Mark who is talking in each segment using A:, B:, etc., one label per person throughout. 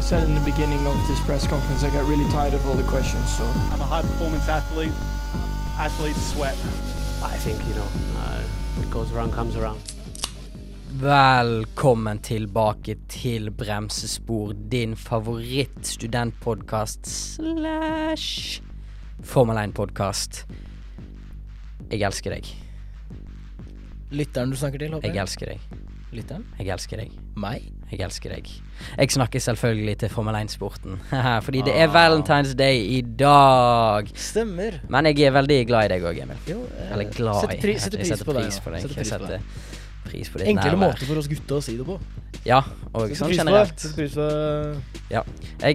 A: I said in the beginning of this press conference, I got really tired of all the questions. So
B: I'm a high performance athlete. Athletes sweat.
C: I think, you know, uh, what goes around comes around.
D: Velkommen tilbake til Bremsespor, din favorittstudentpodkast slash Formel 1-podkast. Jeg elsker deg.
E: Lytteren du snakker til, håper
D: Jeg
E: jeg.
D: elsker deg.
E: Lytteren?
D: Jeg elsker deg.
E: Meg?
D: Jeg elsker deg. Jeg snakker selvfølgelig til Formel 1-sporten, fordi det
E: Ah.
D: er Valentine's Day i dag.
E: Stemmer.
D: Men jeg er veldig glad i deg òg, Emil.
E: Jo, eh,
D: Eller glad
E: setter pri-
D: i.
E: setter
D: Jeg
E: pris
D: setter
E: på deg,
D: pris
E: ja.
D: på deg.
E: Setter
D: Jeg
E: pris på
D: setter pris på ditt
E: Enklere
D: nærvær.
E: måter for oss gutter å si det på.
D: Ja, og sånn generelt.
E: Setter pris på
D: Jeg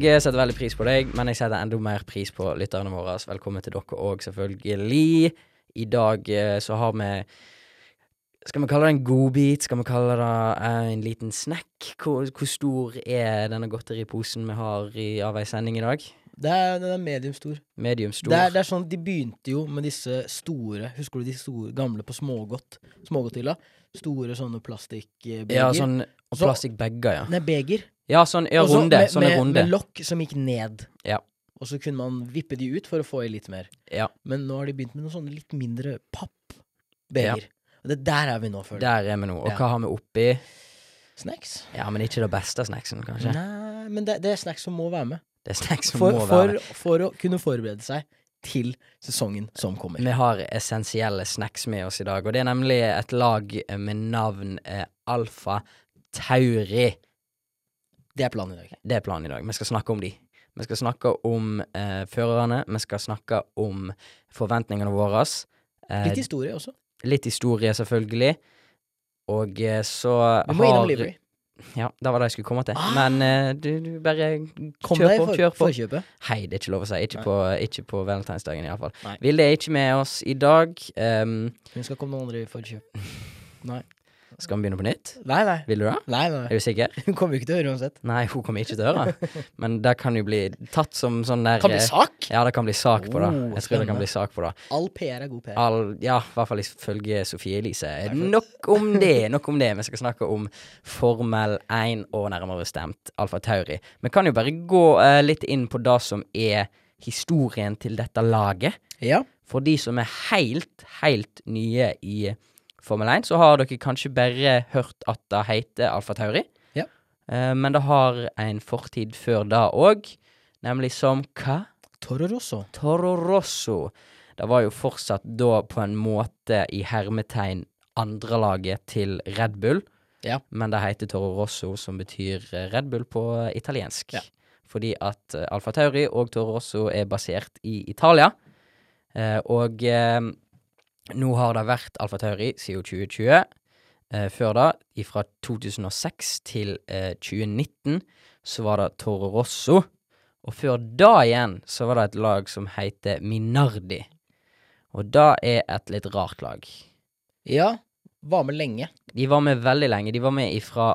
D: eh, setter veldig pris på deg, men jeg setter enda mer pris på lytterne våre. Så Velkommen til dere òg, selvfølgelig. I dag eh, så har vi Skal vi kalle det en godbit? Skal vi kalle det eh, en liten snack? Hvor, hvor stor er denne godteriposen vi har i, av ei sending i dag?
E: det er, den er medium stor.
D: Medium stor.
E: Det er, det er sånn, De begynte jo med disse store Husker du de store, gamle på smågodt? Smågodthylla? Store sånne plastikkbeger.
D: ja, sånn
E: Og så-
D: plastikkbager, ja.
E: Nei, beger.
D: Ja, sånn ja,
E: Og så
D: runde.
E: med-
D: Sånne
E: med,
D: runde.
E: Med lokk som gikk ned.
D: Ja.
E: Og så kunne man vippe de ut for å få i litt mer.
D: Ja.
E: Men nå har de begynt med noen sånne litt mindre pappbeger. Og det der er vi nå, føler jeg.
D: Der er vi nå. Og
E: Ja.
D: hva har vi oppi?
E: Snacks?
D: Ja, men ikke det beste av snacksen, kanskje.
E: Nei, men det, det er snacks som må være med.
D: Det er snacks som
E: For,
D: må være
E: for, for å kunne forberede seg til sesongen som kommer.
D: Vi har essensielle snacks med oss i dag, og det er nemlig et lag med navn eh, Alfa Tauri.
E: Det er planen i dag.
D: Det er planen i dag. Vi skal snakke om de. Vi skal snakke om eh, førerne, vi skal snakke om forventningene våre. Eh,
E: Litt historie også.
D: litt historie, selvfølgelig. Og eh, så
E: Vi må innom Livery.
D: Ja, det var det jeg skulle komme til.
E: Ah!
D: Men eh, du, du bare
E: Kom
D: kjør
E: deg i
D: på,
E: for,
D: kjør på.
E: forkjøpet.
D: Hei, det er ikke lov å si. Ikke
E: Nei.
D: på, ikke på valentinsdagen, iallfall.
E: Nei.
D: Vilde er ikke med oss i dag. Ehm,
E: Hun skal komme noen andre i forkjøp.
D: skal vi begynne på nytt?
E: Nei, nei.
D: Vil du det?
E: Nei, nei.
D: Er du sikker?
E: Hun kommer jo ikke til å høre uansett.
D: Nei, hun kommer ikke til å høre. Men det kan jo bli tatt som sånn der
E: Kan bli sak!
D: Ja, det kan bli sak på det.
E: Oh,
D: Jeg tror det kan
E: spennende.
D: bli sak på det.
E: All PR er god PR.
D: All, ja, i hvert fall ifølge Sofie Elise. Nok om det, nok om det. Vi skal snakke om Formel 1 og nærmere bestemt Alfa Tauri. Vi kan jo bare gå eh, litt inn på det som er historien til dette laget.
E: Ja.
D: For de som er helt, helt nye i Formel 1, så har dere kanskje bare hørt at det heter Alfa Tauri.
E: Ja.
D: Eh, men det har en fortid før det òg, nemlig som hva?
E: Toro Rosso.
D: Toro Rosso. Det var jo fortsatt da på en måte i hermetegn andrelaget til Red Bull.
E: Ja.
D: Men det heter Toro Rosso, som betyr eh, Red Bull på eh, italiensk.
E: Ja.
D: Fordi at eh, Alfa Tauri og Toro Rosso er basert i Italia. Eh, og eh, nå har det vært Alfa Tauri siden 2020. Eh, før da, fra 2006 til eh, 2019, så var det Toro Rosso. Og før da igjen så var det et lag som heter Minardi. Og da er et litt rart lag.
E: Ja. Var med lenge.
D: De var med veldig lenge. De var med fra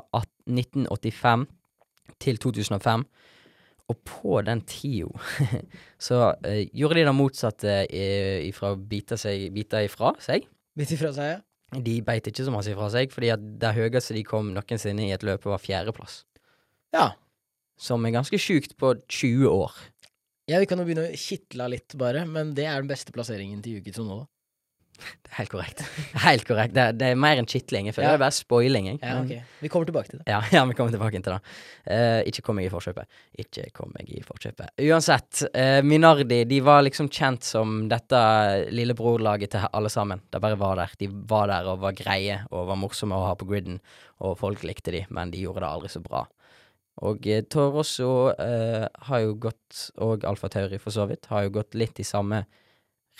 D: 1985 til 2005. Og på den tida så eh, gjorde de det motsatte eh, ifra å bite, seg, bite ifra seg.
E: Midt ifra seg, ja.
D: De beit ikke så masse ifra seg, fordi at det høyeste de kom noensinne i et løp, var fjerdeplass.
E: Ja.
D: Som er ganske sjukt på 20 år.
E: ja, vi kan jo begynne å kitle litt, bare, men det er den beste plasseringen til Yuki Tsunoda.
D: Det er Helt korrekt. Helt korrekt. Det, er- det er mer enn kitling. Jeg føler
E: Ja.
D: det er bare spoiling. jeg.
E: Ja,
D: Men-
E: ok. Vi kommer tilbake til det.
D: Ja, ja, vi kommer tilbake til det. Eh, ikke kom meg i forkjøpet. Ikke kom meg i forkjøpet. Uansett, eh, Minardi de var liksom kjent som dette lillebrorlaget til alle sammen. De bare var der. De var der og var greie og var morsomme å ha på griden. Og folk likte de, men de gjorde det aldri så bra. Og eh, Toro Rosso eh, har jo gått, og Alfa Tauri for så vidt, har jo gått litt i samme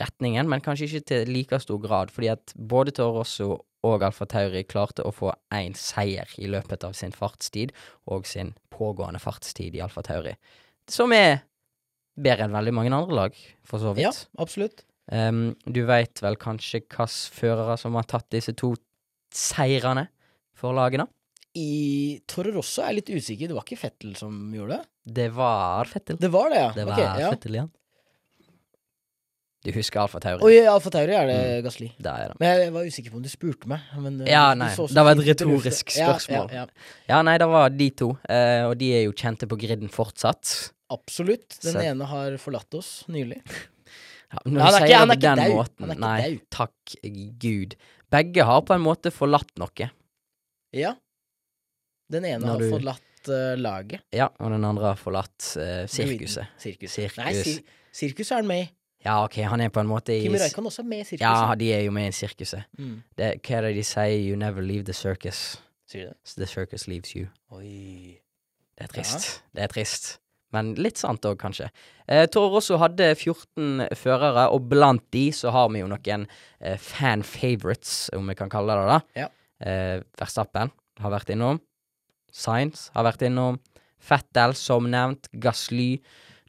D: retningen, men kanskje ikke til like stor grad, fordi at både Toro Rosso og Alfa Tauri klarte å få én seier i løpet av sin fartstid og sin pågående fartstid i Alfa Tauri, som er bedre enn veldig mange andre lag, for så vidt.
E: Ja, absolutt.
D: Ehm, du veit vel kanskje hvilke førere som har tatt disse to seirene for lagene?
E: I Toro Rosso er jeg litt usikker. Det var ikke Fettel som gjorde det?
D: Det var Fettel.
E: Det var det, ja.
D: Det var
E: Ok, ja.
D: Fettel igjen. Du husker Alfa Tauri?
E: Og i Alfa Tauri er det Gasli.
D: Der er det.
E: Men jeg var usikker på om du spurte meg. Men
D: Mm.
E: eh,
D: Ja,
E: du
D: nei,
E: så så
D: det var et
E: fint ut i lufta.
D: retorisk
E: Ja,
D: spørsmål.
E: Ja, ja,
D: Ja, nei, det var de to. eh, og de er jo kjente på griden fortsatt.
E: Absolutt. Den
D: Så-
E: ene har forlatt oss nylig.
D: Ja, men
E: Ja,
D: når
E: han er
D: du
E: ikke-
D: sier
E: han er
D: det på
E: ikke
D: den
E: dau. Han
D: måten
E: er ikke
D: Nei,
E: dau.
D: takk Gud. Begge har på en måte forlatt noe.
E: Ja. Den ene
D: Når
E: har
D: du-
E: forlatt eh, laget.
D: Ja, og den andre har forlatt eh, sirkuset.
E: Sirkus.
D: Sirkus.
E: Nei, sir sirkus er han med i.
D: Ja, OK, han er på en måte i
E: Kimi Rajkan også er med i sirkuset.
D: Ja, de er jo med i sirkuset.
E: Mm.
D: Det, hva er det de sier? You never leave the circus.
E: Sier du det?
D: The circus leaves you.
E: Oi.
D: Det er trist. Det er trist. Men litt sant òg, kanskje. Eh, Toro Rosso hadde 14 førere, og blant de så har vi jo noen eh, fan favorites, om vi kan kalle det det.
E: Ja.
D: Eh, Verstappen har vært innom. Sainz har vært innom. Fettel, som nevnt. Gasly.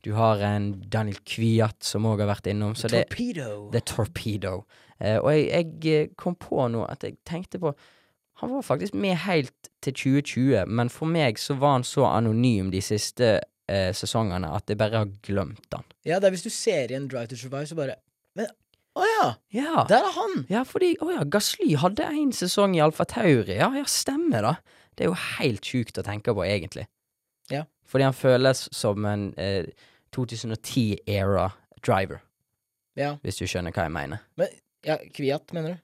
D: Du har en Daniel Kviat som òg har vært innom. Så det,
E: Torpedo.
D: The Torpedo. Eh, og jeg, jeg eh, kom på nå at jeg tenkte på Han var faktisk med helt til 2020, men for meg så var han så anonym de siste eh, sesongene at jeg bare har glemt han.
E: Ja, det er hvis du ser igjen Drive to Survive, så bare Men å ja!
D: Ja,
E: Der er han!
D: ja fordi Å ja, Gasly hadde én sesong i Alfa Tauri. Ja, ja, stemmer da. Det er jo helt sjukt å tenke på, egentlig.
E: Ja.
D: Fordi han føles som en eh, 2010-era driver,
E: Ja.
D: hvis du skjønner hva jeg mener.
E: ja Kviat, mener du?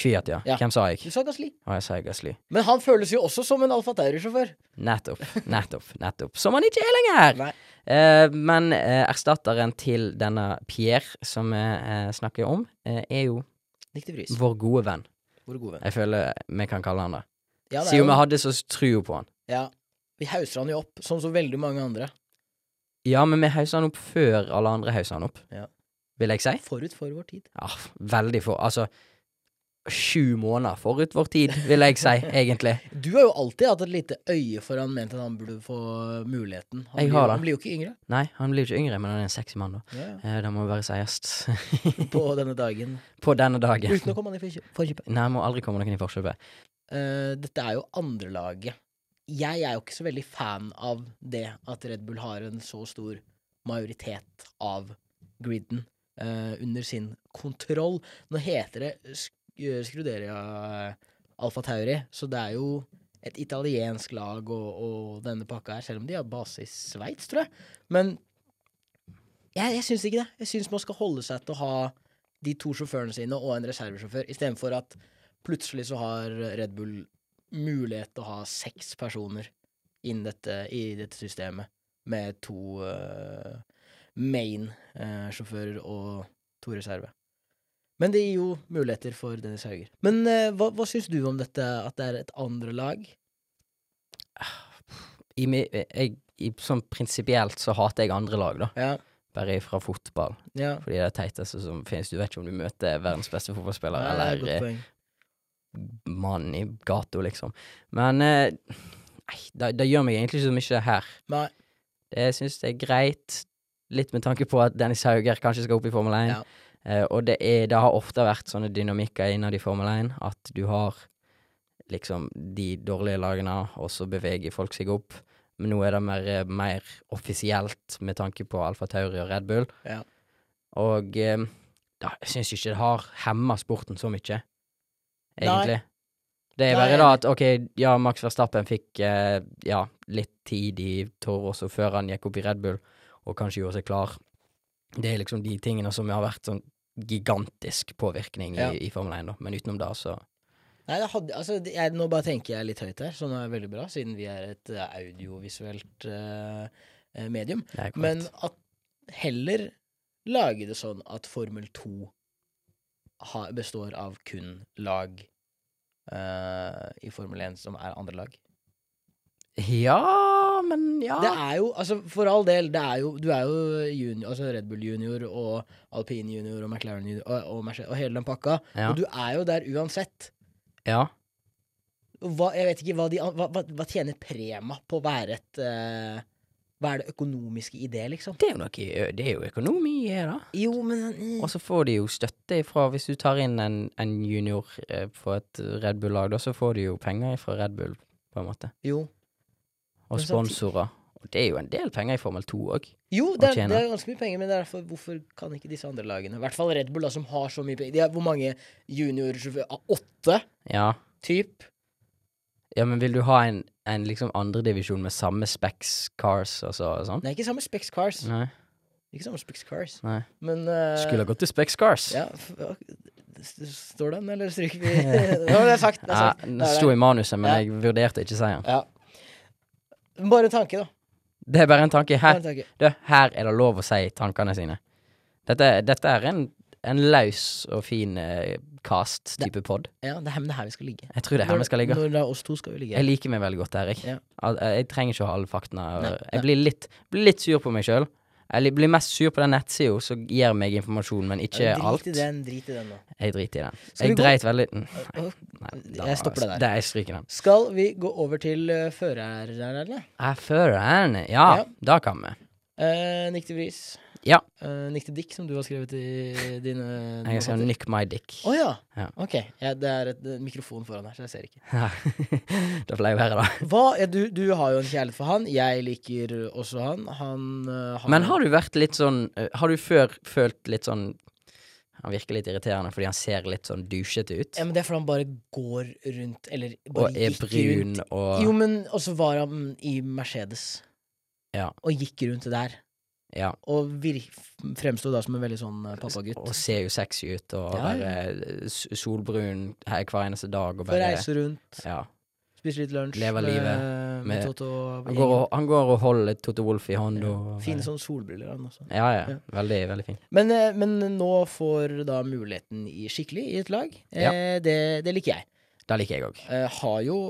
D: Kviat, ja.
E: Ja.
D: Hvem sa
E: Du
D: jeg?
E: sa Gasli.
D: Å, jeg sa Gasly.
E: Men han føles jo også som en Alfa Tauri-sjåfør.
D: Nettopp, nettopp, nettopp. Som han ikke er lenger!
E: Nei.
D: Eh, men eh, erstatteren til denne Pierre som vi eh, snakker om, eh, er jo
E: Niktig pris.
D: vår gode venn.
E: Vår gode venn.
D: Jeg føler vi kan kalle han det.
E: Ja, det er
D: Siden vi
E: jo,
D: hadde så trua på han.
E: ja, vi hauser han jo opp, sånn som veldig mange andre.
D: Ja, men vi hauser han opp før alle andre hauser han opp,
E: Ja.
D: vil jeg si.
E: Forut for vår tid.
D: Ja, veldig for Altså, sju måneder forut vår tid, vil jeg si, egentlig.
E: Du har jo alltid hatt et lite øye for han, ment at han burde få muligheten. Han,
D: Jeg
E: blir,
D: har
E: jo-
D: det.
E: han blir jo ikke yngre
D: Nei, han blir jo ikke yngre, men han er en sexy mann, da.
E: ja, ja.
D: Eh, det må bare sies.
E: på denne dagen.
D: på denne dagen.
E: Uten å komme han i forkjø- forkjøpet.
D: Nei, må aldri komme noen i forkjøpet.
E: Eh, dette er jo andrelaget. Jeg er jo ikke så veldig fan av det at Red Bull har en så stor majoritet av griden eh, under sin kontroll. Nå heter det Sk- eh, Scuderia Alfa Tauri, så det er jo et italiensk lag og, og denne pakka her, selv om de har base i Sveits, tror jeg. Men jeg, jeg syns ikke det. Jeg syns man skal holde seg til å ha de to sjåførene sine og en reservesjåfør, istedenfor at plutselig så har Red Bull mulighet til å ha seks personer inn dette, i dette systemet, med to eh, main eh, sjåfører og to reserve. Men det gir jo muligheter for Dennis Hauger. Men eh, hva, hva syns du om dette, at det er et andre lag?
D: i, mi- jeg, i, sånn prinsipielt så hater jeg andre lag, da.
E: Ja,
D: Bare fra fotball.
E: ja.
D: Fordi det er det teiteste som finnes. Du vet ikke om du møter verdens beste fotballspiller
E: Nei,
D: eller
E: godt
D: eh,
E: poeng.
D: mannen i gata, liksom. Men eh, nei, det, det gjør meg egentlig ikke så mye her.
E: Nei,
D: Det syns jeg er greit. Litt med tanke på at Dennis Hauger kanskje skal opp i Formel 1.
E: Ja.
D: Eh, og det, er, det har ofte vært sånne dynamikker innad i Formel 1 at du har liksom de dårlige lagene, og så beveger folk seg opp. Men nå er det mer, eh, mer offisielt med tanke på Alfa Tauri og Red Bull.
E: Ja.
D: Og eh, da, jeg syns ikke det har hemma sporten så mye, egentlig. Det er
E: Nei,
D: bare
E: jeg
D: da
E: er
D: at ok, ja, Max Verstappen fikk eh, ja, litt tid i Toro også før han gikk opp i Red Bull, og kanskje gjorde seg klar. Det er liksom de tingene som har vært sånn gigantisk påvirkning
E: Ja.
D: i, i Formel 1, da. Men utenom det, så
E: Nei, det hadde, altså, det- jeg, nå bare tenker jeg litt høyt her, så nå er det veldig bra, siden vi er et eh, audiovisuelt eh, eh, medium.
D: det er
E: Men
D: korrekt.
E: at heller lage det sånn at Formel 2 ha, består av kun lag eh, i Formel 1 som er andre lag.
D: Ja, men ja.
E: Det er jo, altså for all del, det er jo, du er jo junior, altså Red Bull junior og Alpine junior og McLaren junior og, og, Merce- og hele den pakka,
D: Ja.
E: og du er jo der uansett.
D: ja.
E: Og Hva, jeg vet ikke, hva, de, an- hva, hva, hva tjener Prema på å være et eh, Hva er det økonomiske i det, liksom?
D: Det er jo noe ø, Det er jo økonomi i det, da.
E: Jo, men mm,
D: Og så får de jo støtte ifra Hvis du tar inn en, en junior eh, på et Red Bull-lag, da, så får de jo penger ifra Red Bull, på en måte.
E: Jo.
D: Og
E: Men samtidig-
D: sponsorer Og det er jo en del penger i Formel 2 òg.
E: Jo, det er,
D: tjene.
E: det er ganske mye penger, men det er derfor, hvorfor kan ikke disse andre lagene I hvert fall Red Bull, da, som har så mye penger. De har, hvor mange juniorsjåfører? Ah, Åtte,
D: Ja.
E: typ?
D: ja, men vil du ha en, en liksom andredivisjon med samme Specs Cars og så og sånn?
E: Nei, ikke samme Specs Cars.
D: Nei.
E: Ikke samme Specs Cars.
D: Nei.
E: Men eh,
D: Skulle ha gått til Specs Cars.
E: ja, f- ja, s- s- Står den, eller stryker vi Nå er det sagt. Det er
D: Ja,
E: sagt.
D: det
E: Det er
D: sto
E: det.
D: i manuset, men
E: Ja.
D: jeg vurderte ikke seieren.
E: Ja. Bare en tanke, da.
D: Det er bare en tanke.
E: Bare
D: Her,
E: en tanke.
D: du, her er det lov å si tankene sine. Dette, dette er en, en løs og fin eh, cast-type pod.
E: Ja, det er her- men det er her vi skal ligge.
D: Jeg tror det er her
E: Når-
D: vi skal ligge.
E: Når det er oss to, skal vi ligge.
D: Jeg liker meg veldig godt der, jeg.
E: Ja.
D: Al- eh, Jeg trenger ikke å ha alle faktene. og
E: Nei, nei.
D: Jeg blir litt, blir litt sur på meg sjøl. Jeg li- blir mest sur på den nettsida som gir meg informasjon, men ikke
E: drit
D: alt.
E: i den, drit i den nå.
D: Jeg driter i den.
E: Skal vi
D: jeg
E: gå-
D: dreit veldig mm,
E: Åh,
D: Nei,
E: Jeg stopper det der.
D: Jeg stryker den.
E: Skal vi gå over til uh, førerne?
D: Jeg fører den. Ja,
E: Ja.
D: da kan vi.
E: Uh, Nick de Vries.
D: Ja.
E: Eh, Nick de Dick, som du har skrevet i dine
D: Jeg skal nick my dick.
E: Å ja.
D: Ja.
E: Ok. Ja, det er et det er en mikrofon foran her, så jeg ser ikke.
D: det får jeg være, da.
E: Hva, ja, du, du har jo en kjærlighet for han. Jeg liker også han. Han eh, har
D: Men har du vært litt sånn eh, Har du før følt litt sånn Han virker litt irriterende fordi han ser litt sånn douchete ut.
E: ja, men Det er fordi han bare går rundt, eller bare
D: og er
E: gikk
D: brun
E: rundt.
D: og
E: Jo, men også var han i Mercedes.
D: Ja.
E: Og gikk rundt der.
D: Ja.
E: Og virk, fremsto da som en veldig sånn eh, pappagutt.
D: Og ser jo sexy ut og
E: Ja, ja.
D: være s- solbrun he- hver eneste dag og
E: Får
D: bare
E: reise rundt,
D: ja.
E: spise litt lunsj
D: Lever livet
E: med,
D: med-
E: med Toto. og
D: han, går og, han går og holder Toto Wolff i hånda. og-
E: Fine sånne solbriller han også.
D: Ja, ja.
E: Ja.
D: Veldig, veldig fin.
E: Men, eh, men nå får da muligheten i skikkelig i et lag. Eh, Det, det liker jeg.
D: Det liker jeg òg.
E: Eh, har jo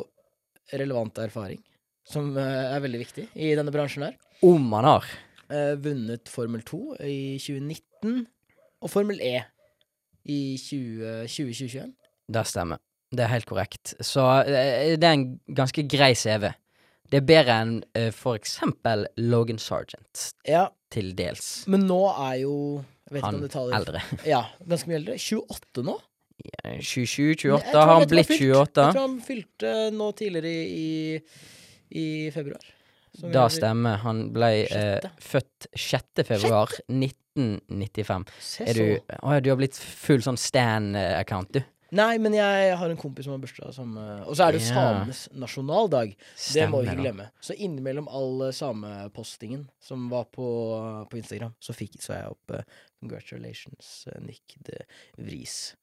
E: relevant erfaring, som eh, er veldig viktig i denne bransjen her.
D: Om han har.
E: Eh, vunnet Formel 2 i 2019, og Formel E i 20, 2021.
D: Det stemmer. Det er helt korrekt. Så eh, det er en ganske grei CV. Det er bedre enn eh, for eksempel Logan Sergeant,
E: Ja,
D: til dels.
E: men nå er jo jeg vet ikke
D: Han
E: om det taler,
D: eldre.
E: Ja, ganske mye eldre. 28 nå?
D: 27-28
E: Jeg tror-
D: har han
E: jeg tror
D: blitt
E: fylt- Jeg
D: 28.
E: tror han fylte nå tidligere i, i, i februar. Så
D: Da
E: vi-
D: stemmer. Han ble eh,
E: Sjette.
D: født 6. februar 1995.
E: Se
D: Er du,
E: så.
D: å, ja, du har blitt full sånn Stan-account, du.
E: Nei, men jeg har en kompis som har bursdag samme Og så er det jo
D: Ja.
E: samenes nasjonaldag. det må vi ikke
D: da.
E: glemme. Så innimellom all eh, samepostingen som var på, på Instagram, så fikk så jeg opp eh, 'Congratulations, eh, Nick de Vries'.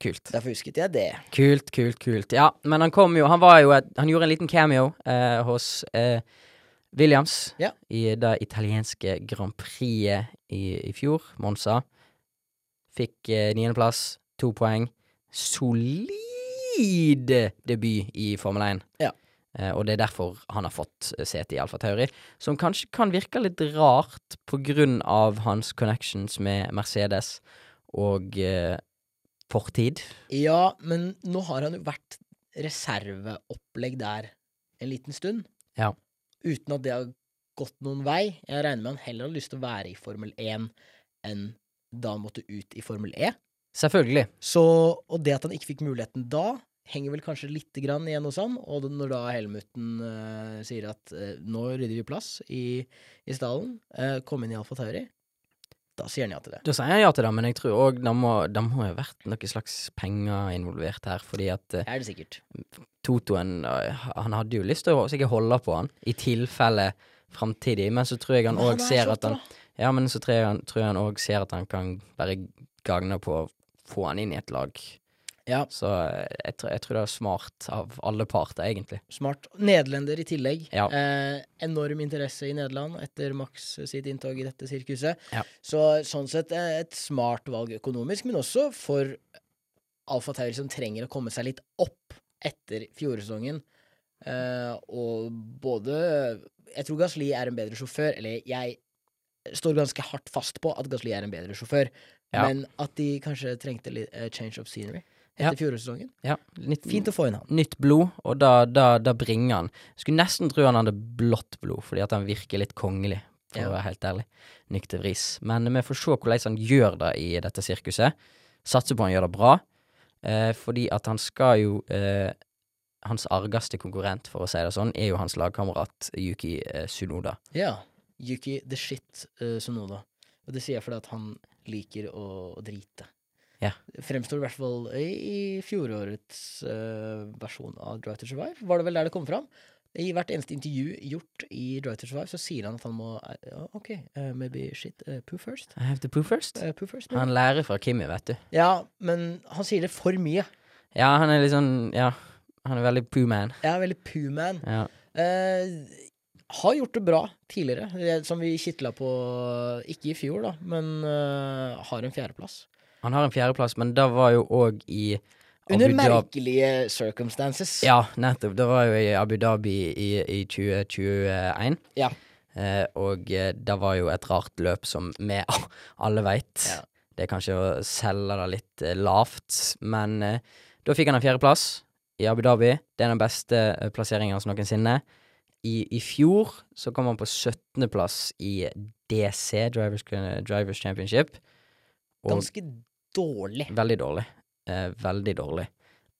D: Kult.
E: Derfor husket jeg det.
D: Kult, kult, kult. Ja, men han kom jo Han, var jo et, han gjorde en liten cameo eh, hos eh, Williams
E: Ja.
D: i det italienske Grand Prix i, i fjor, Monza. Fikk eh, niendeplass, to poeng. Solid debut i Formel 1.
E: Ja.
D: Eh, og det er derfor han har fått eh, sete i Alfa Tauri, som kanskje kan virke litt rart på grunn av hans connections med Mercedes og eh, fortid.
E: Ja, men nå har han jo vært reserveopplegg der en liten stund.
D: Ja.
E: Uten at det har gått noen vei. Jeg regner med han heller har lyst til å være i Formel 1 enn da han måtte ut i Formel E.
D: Selvfølgelig.
E: Så, og det at han ikke fikk muligheten da, henger vel kanskje litt grann igjen hos han. Og det- når da Helmuten eh, sier at eh, nå rydder vi plass i, i stallen, eh, kom inn i Alfa Tauri, da sier han ja til det.
D: Da sier jeg ja til det, men jeg tror òg det må det må ha vært noen slags penger involvert her. Fordi at eh,
E: Er det sikkert.
D: Totoen eh, Han hadde jo lyst til å sikkert holde på han, i tilfelle framtidig, men så tror jeg han
E: Men
D: òg
E: er
D: ser
E: 28
D: at han
E: da.
D: Ja, men så tror jeg han- tror jeg han òg ser at han kan bare gagne på å få han inn i et lag.
E: Ja.
D: Så eh, jeg, tror- jeg tror det er smart av alle parter, egentlig.
E: Smart. Nederlender i tillegg.
D: Ja.
E: Eh, enorm interesse i Nederland etter Max sitt inntog i dette sirkuset.
D: Ja.
E: Så sånn sett eh, et smart valg økonomisk, men også for Alfa Tauri som trenger å komme seg litt opp etter fjorårssesongen. Eh, og både Jeg tror Gasli er en bedre sjåfør, eller jeg står ganske hardt fast på at Gasli er en bedre sjåfør,
D: Ja.
E: men at de kanskje trengte litt eh, change of scenery
D: Ja.
E: etter fjorårssesongen.
D: Ja, litt,
E: Fint å få inn han.
D: nytt blod, og da, da, da bringer han Skulle nesten tro han hadde blått blod, fordi at han virker litt kongelig, for
E: Ja.
D: å være helt ærlig. Nykter vris. Men vi får se hvordan han gjør det i dette sirkuset. Satser på han gjør det bra, eh, fordi at han skal jo eh, hans argeste konkurrent, for å si det sånn, er jo hans lagkamerat Yuki eh, Sunoda.
E: Ja. Yuki the shit uh, Sonoda. Og det sier jeg fordi at han liker å, å drite.
D: Ja.
E: Fremstår i hvert fall i, i fjorårets eh, versjon av Drive to Survive, var det vel der det kom fram? I hvert eneste intervju gjort i Drive to Survive, så sier han at han må eh, ja, OK, eh, maybe shit eh, poo first.
D: I have to poo first.
E: Eh, poo first maybe.
D: Han lærer fra Kimmy, vet du.
E: Ja, men han sier det for mye.
D: Ja, han er litt sånn Ja, han er veldig poo-man.
E: Jeg er veldig poo-man.
D: Ja.
E: Eh, har gjort det bra tidligere, eh, som vi kitla på eh, Ikke i fjor, da, men eh, har en fjerdeplass.
D: Han har en fjerdeplass, men det var jo òg i
E: Under
D: Abu Dhabi
E: merkelige circumstances.
D: Ja, nettopp. Det var jo i Abu Dhabi i, i 2021.
E: Ja.
D: Eh, og eh, det var jo et rart løp som vi alle veit.
E: Ja.
D: Det er kanskje å selge det litt eh, lavt, men eh, da fikk han en fjerdeplass i Abu Dhabi. Det er den beste eh, plasseringen hans noensinne. I, I fjor så kom han på 17.-plass i DC, Drivers, Drivers Championship. Og
E: Ganske dårlig.
D: Veldig dårlig. Eh, veldig dårlig.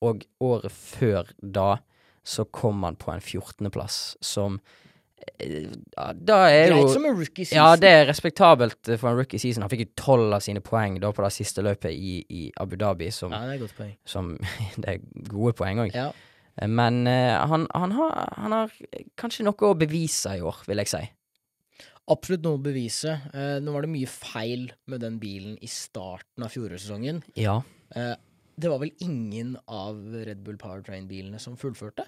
D: Og året før da så kom han på en 14.-plass, som eh, ja, Da er
E: Greit
D: jo
E: som en rookie season.
D: ja, det er respektabelt eh, for en rookie season. Han fikk jo tolv av sine poeng da på det siste løpet i, i Abu Dhabi, som,
E: Ja, det er et godt poeng.
D: som Det er gode poeng òg.
E: Ja.
D: Men eh, han, han, har, han har kanskje noe å bevise i år, vil jeg si.
E: Absolutt noe å bevise. Eh, nå var det mye feil med den bilen i starten av fjorårssesongen.
D: Ja.
E: Eh, det var vel ingen av Red Bull Powertrain-bilene som fullførte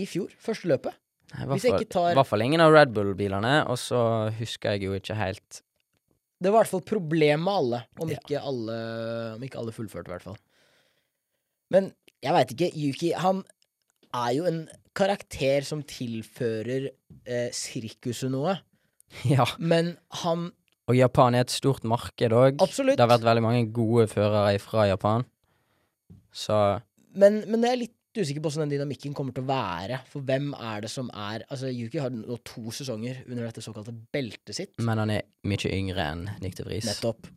E: i fjor, første løpet.
D: I hvert
E: Hvis jeg
D: fall-
E: ikke tar-
D: i hvert fall ingen av Red Bull-bilene, og så husker jeg jo ikke helt
E: Det var i hvert fall problem med alle, om
D: Ja.
E: ikke alle, om ikke alle fullførte, i hvert fall. Men jeg veit ikke. Yuki, han er jo en karakter som tilfører eh, sirkuset noe,
D: Ja.
E: men han
D: Og Japan er et stort marked òg.
E: Absolutt.
D: Det har vært veldig mange gode førere fra Japan. Så
E: Men, men jeg er litt usikker på hvordan den dynamikken kommer til å være. For hvem er det som er Altså, Yuki har nå to sesonger under dette såkalte beltet sitt.
D: Men han er mye yngre enn Nick de Vries.
E: Nettopp.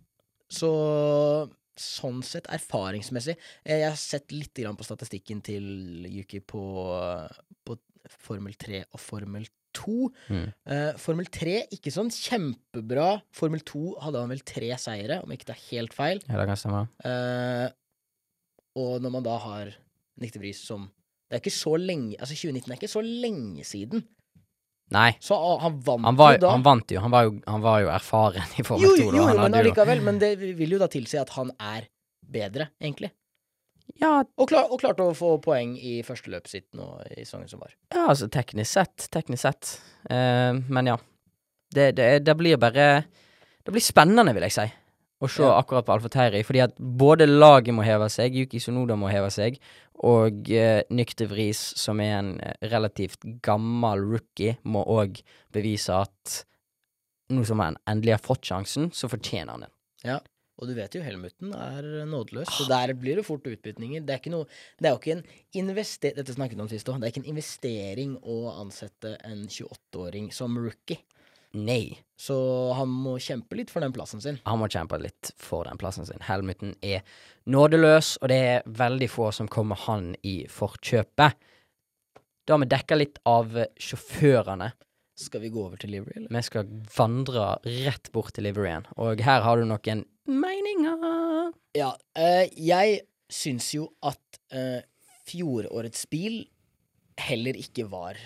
E: Så sånn sett, erfaringsmessig eh, Jeg har sett litt grann på statistikken til Yuki på, på Formel 3 og Formel 2.
D: Mm.
E: Eh, Formel 3 ikke sånn kjempebra. Formel 2 hadde han vel tre seire, om ikke det er helt feil.
D: Ja, det kan stemme.
E: Eh, og når man da har Nikte Bris som Det er ikke så lenge Altså, 2019 er ikke så lenge siden.
D: Nei,
E: Så ah, han vant
D: han, var,
E: jo da.
D: han vant jo. Han var jo, han var jo erfaren i Formel
E: jo,
D: 2.
E: jo,
D: da.
E: jo,
D: Han
E: men
D: hadde jo-
E: allikevel. Men det vil jo da tilsi at han er bedre, egentlig.
D: ja,
E: Og, klar, og klarte å få poeng i første løpet sitt nå i sesongen som var.
D: ja, altså teknisk sett. Teknisk sett. Eh, men ja. Det, det, det blir bare Det blir spennende, vil jeg si, å se
E: Ja.
D: akkurat på Alfa Teiri. Fordi at både laget må heve seg, Yuki Sonoda må heve seg, og eh, Nyk de Vries, som er en eh, relativt gammel rookie, må òg bevise at nå som han endelig har fått sjansen, så fortjener han den.
E: Og du vet jo, Helmuten er nådeløs, så der blir det fort utbytninger. Det er, ikke noe, det er jo ikke en investe- Dette snakket vi om sist også. Det er ikke en investering å ansette en 28-åring som rookie.
D: Nei.
E: Så han må kjempe litt for den plassen sin.
D: Han må kjempe litt for den plassen sin. Helmuten er nådeløs, og det er veldig få som kommer han i forkjøpet. Da har vi dekka litt av eh, sjåførene.
E: Skal vi gå over til Livery, eller?
D: Vi skal vandre rett bort til liveryen, og her har du noen meninger.
E: Ja, eh, jeg syns jo at eh, fjorårets bil heller ikke var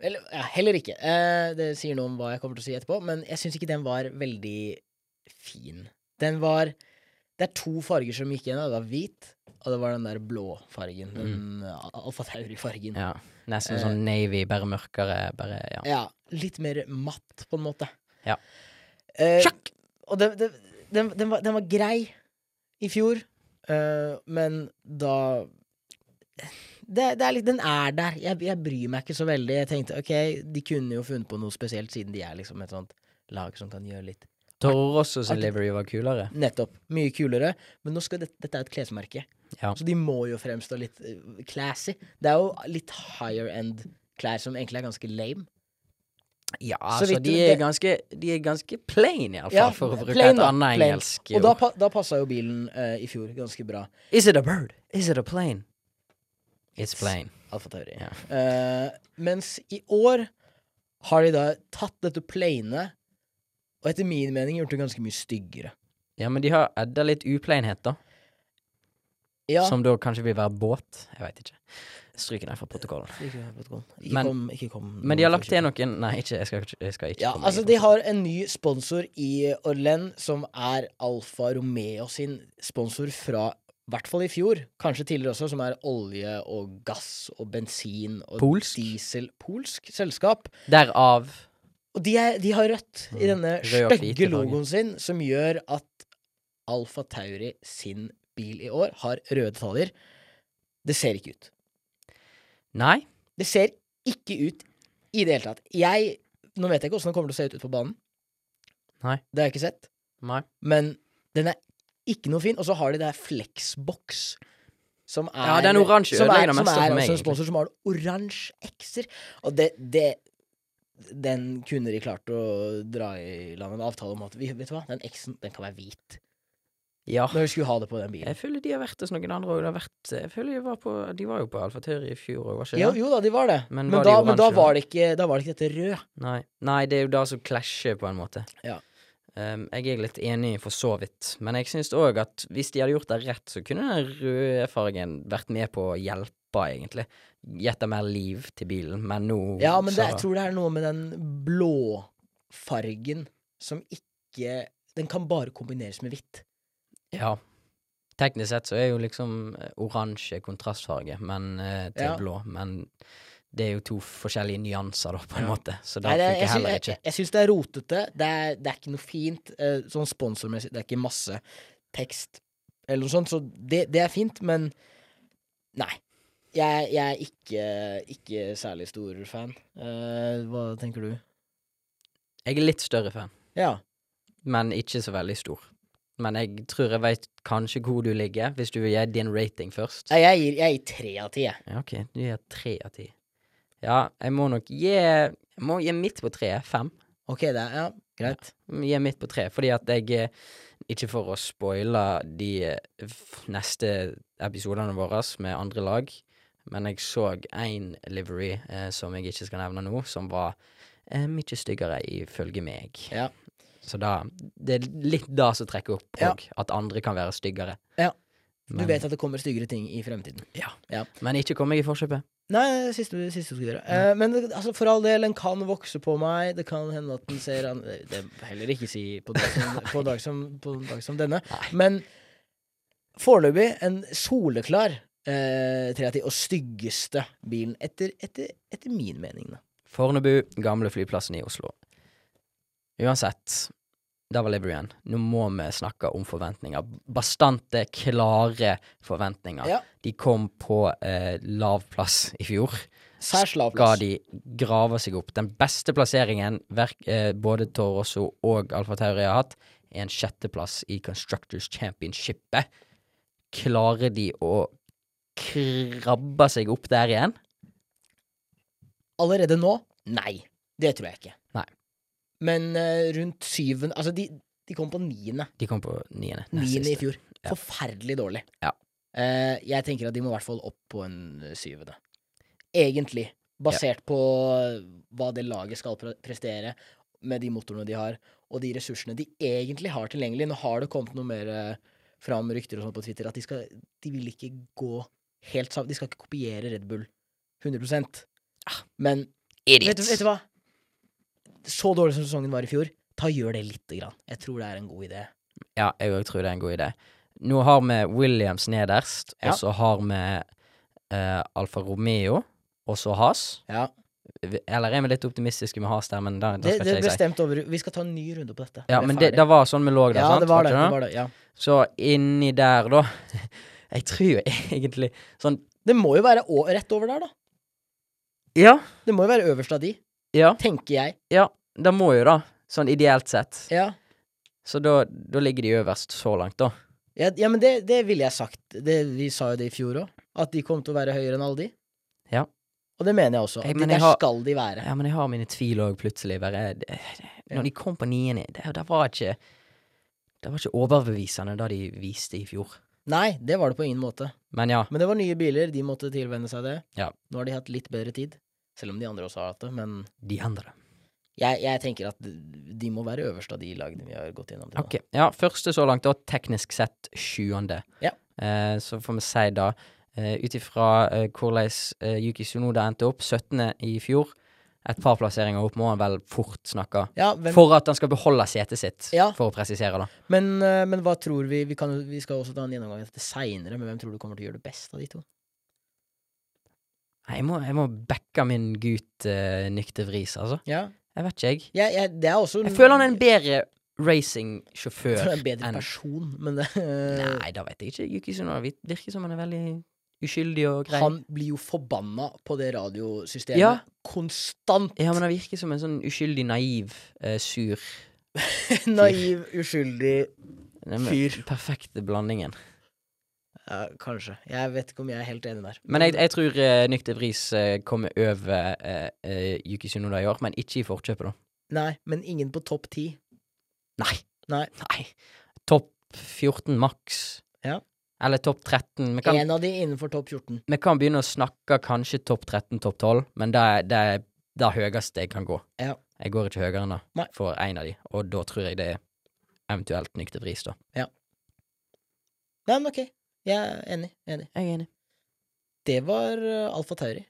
E: Eller ja, heller ikke. Eh, det sier noe om hva jeg kommer til å si etterpå, men jeg syns ikke den var veldig fin. Den var Det er to farger som gikk igjen. da. Det var hvit, og det var den der blå fargen. Den eh, Alfa Tauri-fargen.
D: Ja, nesten
E: Eh.
D: sånn Navy, bare mørkere, bare ja.
E: Ja, litt mer matt, på en måte.
D: Ja.
E: Eh,
D: Sjakk!
E: Og den, den, den, den, var, den var grei i fjor, eh, men da det, det er litt, Den er der. Jeg, jeg bryr meg ikke så veldig. Jeg tenkte ok, de kunne jo funnet på noe spesielt, siden de er liksom et sånt lag som kan gjøre litt
D: Toro også sin
E: Alt-
D: livery var kulere.
E: Nettopp. Mye kulere. Men nå skal det, dette er et klesmerke,
D: Ja.
E: så de må jo fremstå litt eh, classy. Det er jo litt higher end klær som egentlig er ganske lame.
D: Ja,
E: Så
D: altså,
E: vidt
D: de
E: det-
D: er ganske, de er ganske plain, iallfall,
E: Ja,
D: fall for å bruke et
E: plain da,
D: annet
E: plain.
D: engelsk
E: Og da,
D: ord.
E: pa- da passa jo bilen eh, i fjor ganske bra.
D: Is it a bird? Is it a plane? It's plain.
E: Alfa Tauri.
D: Ja.
E: Eh, mens i år har de da tatt dette planet og etter min mening gjort det ganske mye styggere.
D: Ja, men de har edda litt upleinhet, da.
E: Ja,
D: Som da kanskje vil være båt. Jeg veit ikke. Stryk den fra protokollen.
E: ikke, protokoll. ikke,
D: Men-
E: kom, ikke kom
D: Men de har lagt til noen Nei, ikke, jeg skal, ikke- jeg skal ikke
E: Ja,
D: komme
E: altså
D: inn på
E: De
D: det.
E: har en ny sponsor i Orlen, som er Alfa Romeo sin sponsor fra i hvert fall i fjor, kanskje tidligere også, som er olje og gass og bensin og
D: Polsk?
E: diesel. Polsk selskap.
D: Derav
E: Og de, er, de har rødt
D: Mm.
E: i denne
D: Rød og hvit i fargen.
E: stygge logoen sin, som gjør at Alfa Tauri sin bil i år har røde detaljer. Det ser ikke ut.
D: Nei.
E: Det ser ikke ut i det hele tatt. Jeg Nå vet jeg ikke åssen det kommer til å se ut ute på banen.
D: Nei.
E: Det har jeg ikke sett.
D: Nei.
E: Men den er ikke noe fin. Og så har de det her Flexbox. Som er,
D: Ja, den oransje
E: som
D: ødelegger
E: er,
D: det
E: som
D: meste for meg,
E: er også en
D: egentlig.
E: sponsor som har oransje X-er. Og det, det Den kunne de klart å dra i land en avtale om at vi, Vet du hva, den X-en den kan være hvit.
D: Ja.
E: Når vi skulle ha det på den bilen.
D: Jeg føler de har vært hos noen andre òg. Jeg føler de var, på, de var jo på Alfa Tøyri i fjor òg, var ikke det?
E: Jo, jo da, de var det.
D: Men
E: Men,
D: var de
E: da, men da,
D: oransje, da?
E: var det ikke, da var det ikke dette rød.
D: Nei. Nei, det er jo det som klasjer, på en måte.
E: Ja.
D: Ehm, jeg er litt enig for så vidt, men jeg syns òg at hvis de hadde gjort det rett, så kunne den røde fargen vært med på å hjelpe, egentlig. Gjette mer liv til bilen, men nå
E: Ja, men det, jeg
D: så-
E: tror det er noe med den blåfargen som ikke Den kan bare kombineres med hvitt.
D: Ja. Teknisk sett så er jo liksom eh, oransje kontrastfarge men, eh, til
E: Ja.
D: blå, men det er jo to forskjellige nyanser, da, på en
E: Ja.
D: måte, så det
E: Nei, det,
D: funker
E: jeg, sy-
D: heller
E: jeg,
D: ikke.
E: jeg, jeg syns det er rotete. Det er, det er ikke noe fint. eh, Sånn sponsormessig, det er ikke masse tekst eller noe sånt, så det, det er fint, men nei. Jeg, jeg er ikke, ikke særlig stor fan. Eh, hva tenker du?
D: Jeg er litt større fan.
E: Ja.
D: men ikke så veldig stor. Men jeg tror jeg veit kanskje hvor du ligger, hvis du vil gi din rating først.
E: Nei, Jeg gir, jeg gir tre av ti, jeg.
D: Ja, ok, du gir tre av ti. Ja, jeg må nok gi Jeg må gi midt på treet. Fem.
E: Ok, det er ja, greit.
D: Gi midt på treet, fordi at jeg eh, Ikke for å spoile de eh, f- neste episodene våre med andre lag, men jeg så én livery eh, som jeg ikke skal nevne nå, som var eh, mye styggere ifølge meg.
E: Ja.
D: Så da Det er litt da som trekker opp
E: Ja.
D: òg, at andre kan være styggere.
E: Ja. Du
D: Men,
E: vet at det kommer styggere ting i fremtiden.
D: men ikke kom meg i forkjøpet.
E: Nei, siste, siste du skal gjøre. Eh, men det- altså, for all del, den kan vokse på meg. Det kan hende at den ser an Det det vil jeg heller ikke si på dag som, på dag som, på en dag som denne. Men foreløpig en soleklar eh, 3 av 10, og styggeste bilen, etter, etter, etter min mening. Da.
D: Fornebu, gamle flyplassen i Oslo. Uansett, der var Librien. Nå må vi snakke om forventninger. Bastante, klare forventninger.
E: Ja.
D: De kom på eh, lav plass i fjor.
E: Særs lav
D: Skal
E: plass.
D: de grave seg opp? Den beste plasseringen verk, eh, både Toro Rosso og Alfa Tauri har hatt, er en sjetteplass i Constructors Championshipet. Klarer de å krabbe seg opp der igjen?
E: Allerede nå? Nei. Det tror jeg ikke.
D: Nei.
E: Men eh, rundt syvende Altså, de, de kom på niende.
D: De kom på niende. nest
E: Niende i
D: siste.
E: fjor.
D: Ja.
E: Forferdelig dårlig.
D: Ja.
E: Eh, jeg tenker at de må i hvert fall opp på en eh, syvende. Egentlig. Basert på eh, hva det laget skal pre- prestere, med de motorene de har, og de ressursene de egentlig har tilgjengelig. Nå har det kommet noe mer eh, fram rykter og sånt på Twitter at de, skal, de vil ikke gå helt sammen. De skal ikke kopiere Red Bull 100
D: Ah,
E: Men vet du, vet du hva? Så dårlig som sesongen var i fjor, ta gjør det lite grann. Jeg tror det er en god idé.
D: Ja, jeg òg tror det er en god idé. Nå har vi Williams nederst,
E: Ja.
D: og så har vi eh, Alfa Romeo, og så Has.
E: Ja.
D: Eller er vi litt optimistiske med Has der, men da, da
E: Det,
D: skal
E: det
D: ikke
E: er
D: jeg si.
E: bestemt over Vi skal ta en ny runde på dette.
D: Ja,
E: Vi er
D: men det,
E: ferdig.
D: det var sånn vi lå der,
E: ja,
D: sant?
E: det var det.
D: ikke
E: det, var det ja.
D: Så inni der, da Jeg tror jo egentlig sånn
E: det må jo være å, rett over der, da.
D: Ja,
E: Det må jo være øverst av de,
D: ja,
E: tenker jeg.
D: ja. Det må jo, da. Sånn ideelt sett.
E: Ja,
D: Så da, da ligger de øverst så langt, da.
E: ja, ja men det, det ville jeg sagt. Det, vi sa jo det i fjor òg, at de kom til å være høyere enn alle de.
D: Ja.
E: Og det mener jeg også.
D: Jeg-
E: At
D: men
E: de
D: jeg
E: der
D: har-
E: skal de være.
D: Ja, men jeg har mine tvil òg, plutselig. Bare, det- det- når de kom på niende, det, det var ikke Det var ikke overbevisende da de viste i fjor.
E: Nei, det var det på ingen måte.
D: Men ja,
E: Men det var nye biler, de måtte tilvenne seg det.
D: Ja.
E: Nå har de hatt litt bedre tid, selv om de andre også har hatt det. Men
D: de andre.
E: jeg, jeg tenker at de må være øverst av de lagene vi har gått gjennom til nå.
D: Ok, ja, Første så langt, da. Teknisk sett sjuende.
E: Ja.
D: Eh, så får vi si, da, eh, ut ifra eh, hvordan eh, Yuki Sunoda endte opp, 17. i fjor Et par plasseringer opp må han vel fort snakke.
E: Ja, hvem,
D: For at han skal beholde setet sitt,
E: Ja.
D: for å presisere, da.
E: men, eh, men hva tror vi Vi, kan, jo- vi skal også ta en gjennomgang av dette seinere, men hvem tror du kommer til å gjøre det best av de to?
D: Nei, jeg må, jeg må backe min gutt uh, Nykte Vris, altså.
E: Ja,
D: Jeg vet ikke, jeg.
E: jeg, jeg, det er også
D: Jeg føler han er en bedre racingsjåfør
E: Jeg tror han er en bedre
D: enn-
E: person, men eh, det,
D: Nei, da vet jeg ikke. Yuki Sunoda vir- virker som han er veldig uskyldig og grei.
E: Han blir jo forbanna på det radiosystemet
D: Ja.
E: konstant.
D: Ja, men han virker som en sånn uskyldig, naiv, eh, sur
E: Naiv, uskyldig
D: Den
E: Fyr.
D: Perfekte blandingen.
E: ja, Kanskje. Jeg vet ikke om jeg er helt enig der.
D: Men jeg, jeg tror uh, Nykter Vris eh, kommer over eh, eh, Yuki Sunoda i år, men ikke i forkjøpet, da.
E: Nei, men ingen på topp ti.
D: Nei.
E: Nei.
D: Nei. Topp 14 maks.
E: Ja.
D: Eller topp 13. Vi kan,
E: En av de innenfor topp 14.
D: vi kan begynne å snakke kanskje topp 13, topp 12, men det er det, er det høyeste jeg kan gå.
E: Ja.
D: Jeg går ikke høyere enn det
E: Nei.
D: for én av de, og da tror jeg det er eventuelt Nykter Vris, da.
E: Nei, men ok. Jeg er enig. enig.
D: Jeg er enig.
E: Det var eh, Alfa Tauri.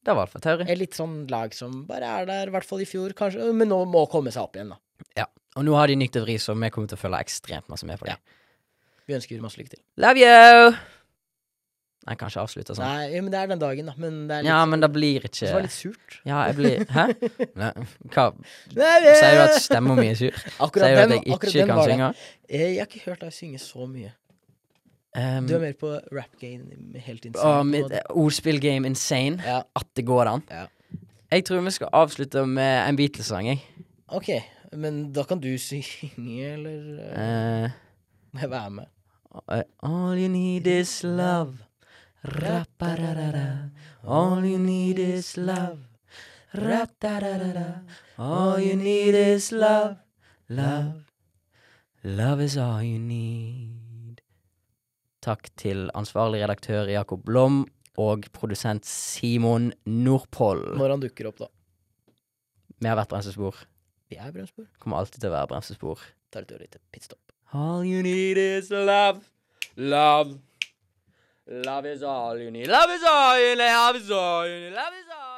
D: Det var Alfa Tauri.
E: Et litt sånn lag som bare er der, i hvert fall i fjor, kanskje. Men nå må komme seg opp igjen, da.
D: Og nå har de Nykter Vris, og vi kommer til å følge ekstremt masse med på dem.
E: Vi ønsker masse lykke til.
D: Love you! Nei, kanskje avslutte sånn.
E: Nei, jo, men det er den dagen, da. Men det er litt,
D: Ja, men det blir
E: det var
D: ikke
E: litt surt.
D: Ja, jeg blir Hæ? Nei, Hva?
E: Nei,
D: Sier du at stemma mi er sur?
E: akkurat
D: Sier du at
E: den,
D: jeg
E: akkurat
D: ikke
E: den
D: kan
E: var det.
D: synge?
E: Eh, Jeg har ikke hørt deg synge så mye.
D: Um,
E: Du er mer på rap game helt inntil.
D: og mitt eh, ordspillgame Insane.
E: Ja,
D: At det går an.
E: Ja.
D: Jeg tror vi skal avslutte med en Beatles-sang, jeg.
E: ok. Men da kan du synge, eller eh,
D: Eh,
E: må jeg være med?
D: eh, all you need is love. Ra-pa-ra-ra-ra. All you need is love. Ra-da-da-da-da. All you need is love. Love. Love is all you need. Takk til ansvarlig redaktør Jakob Blom og produsent Simon Nordpoll.
E: Når han dukker opp, da.
D: Vi har vært bremsespor.
E: Vi er bremsbord.
D: Kommer alltid til å være bremsespor.
E: Tar et ørlite pitstop.
D: All you need is love. Love. Love is all you need. Love is all you need. Love is all you need. Love is all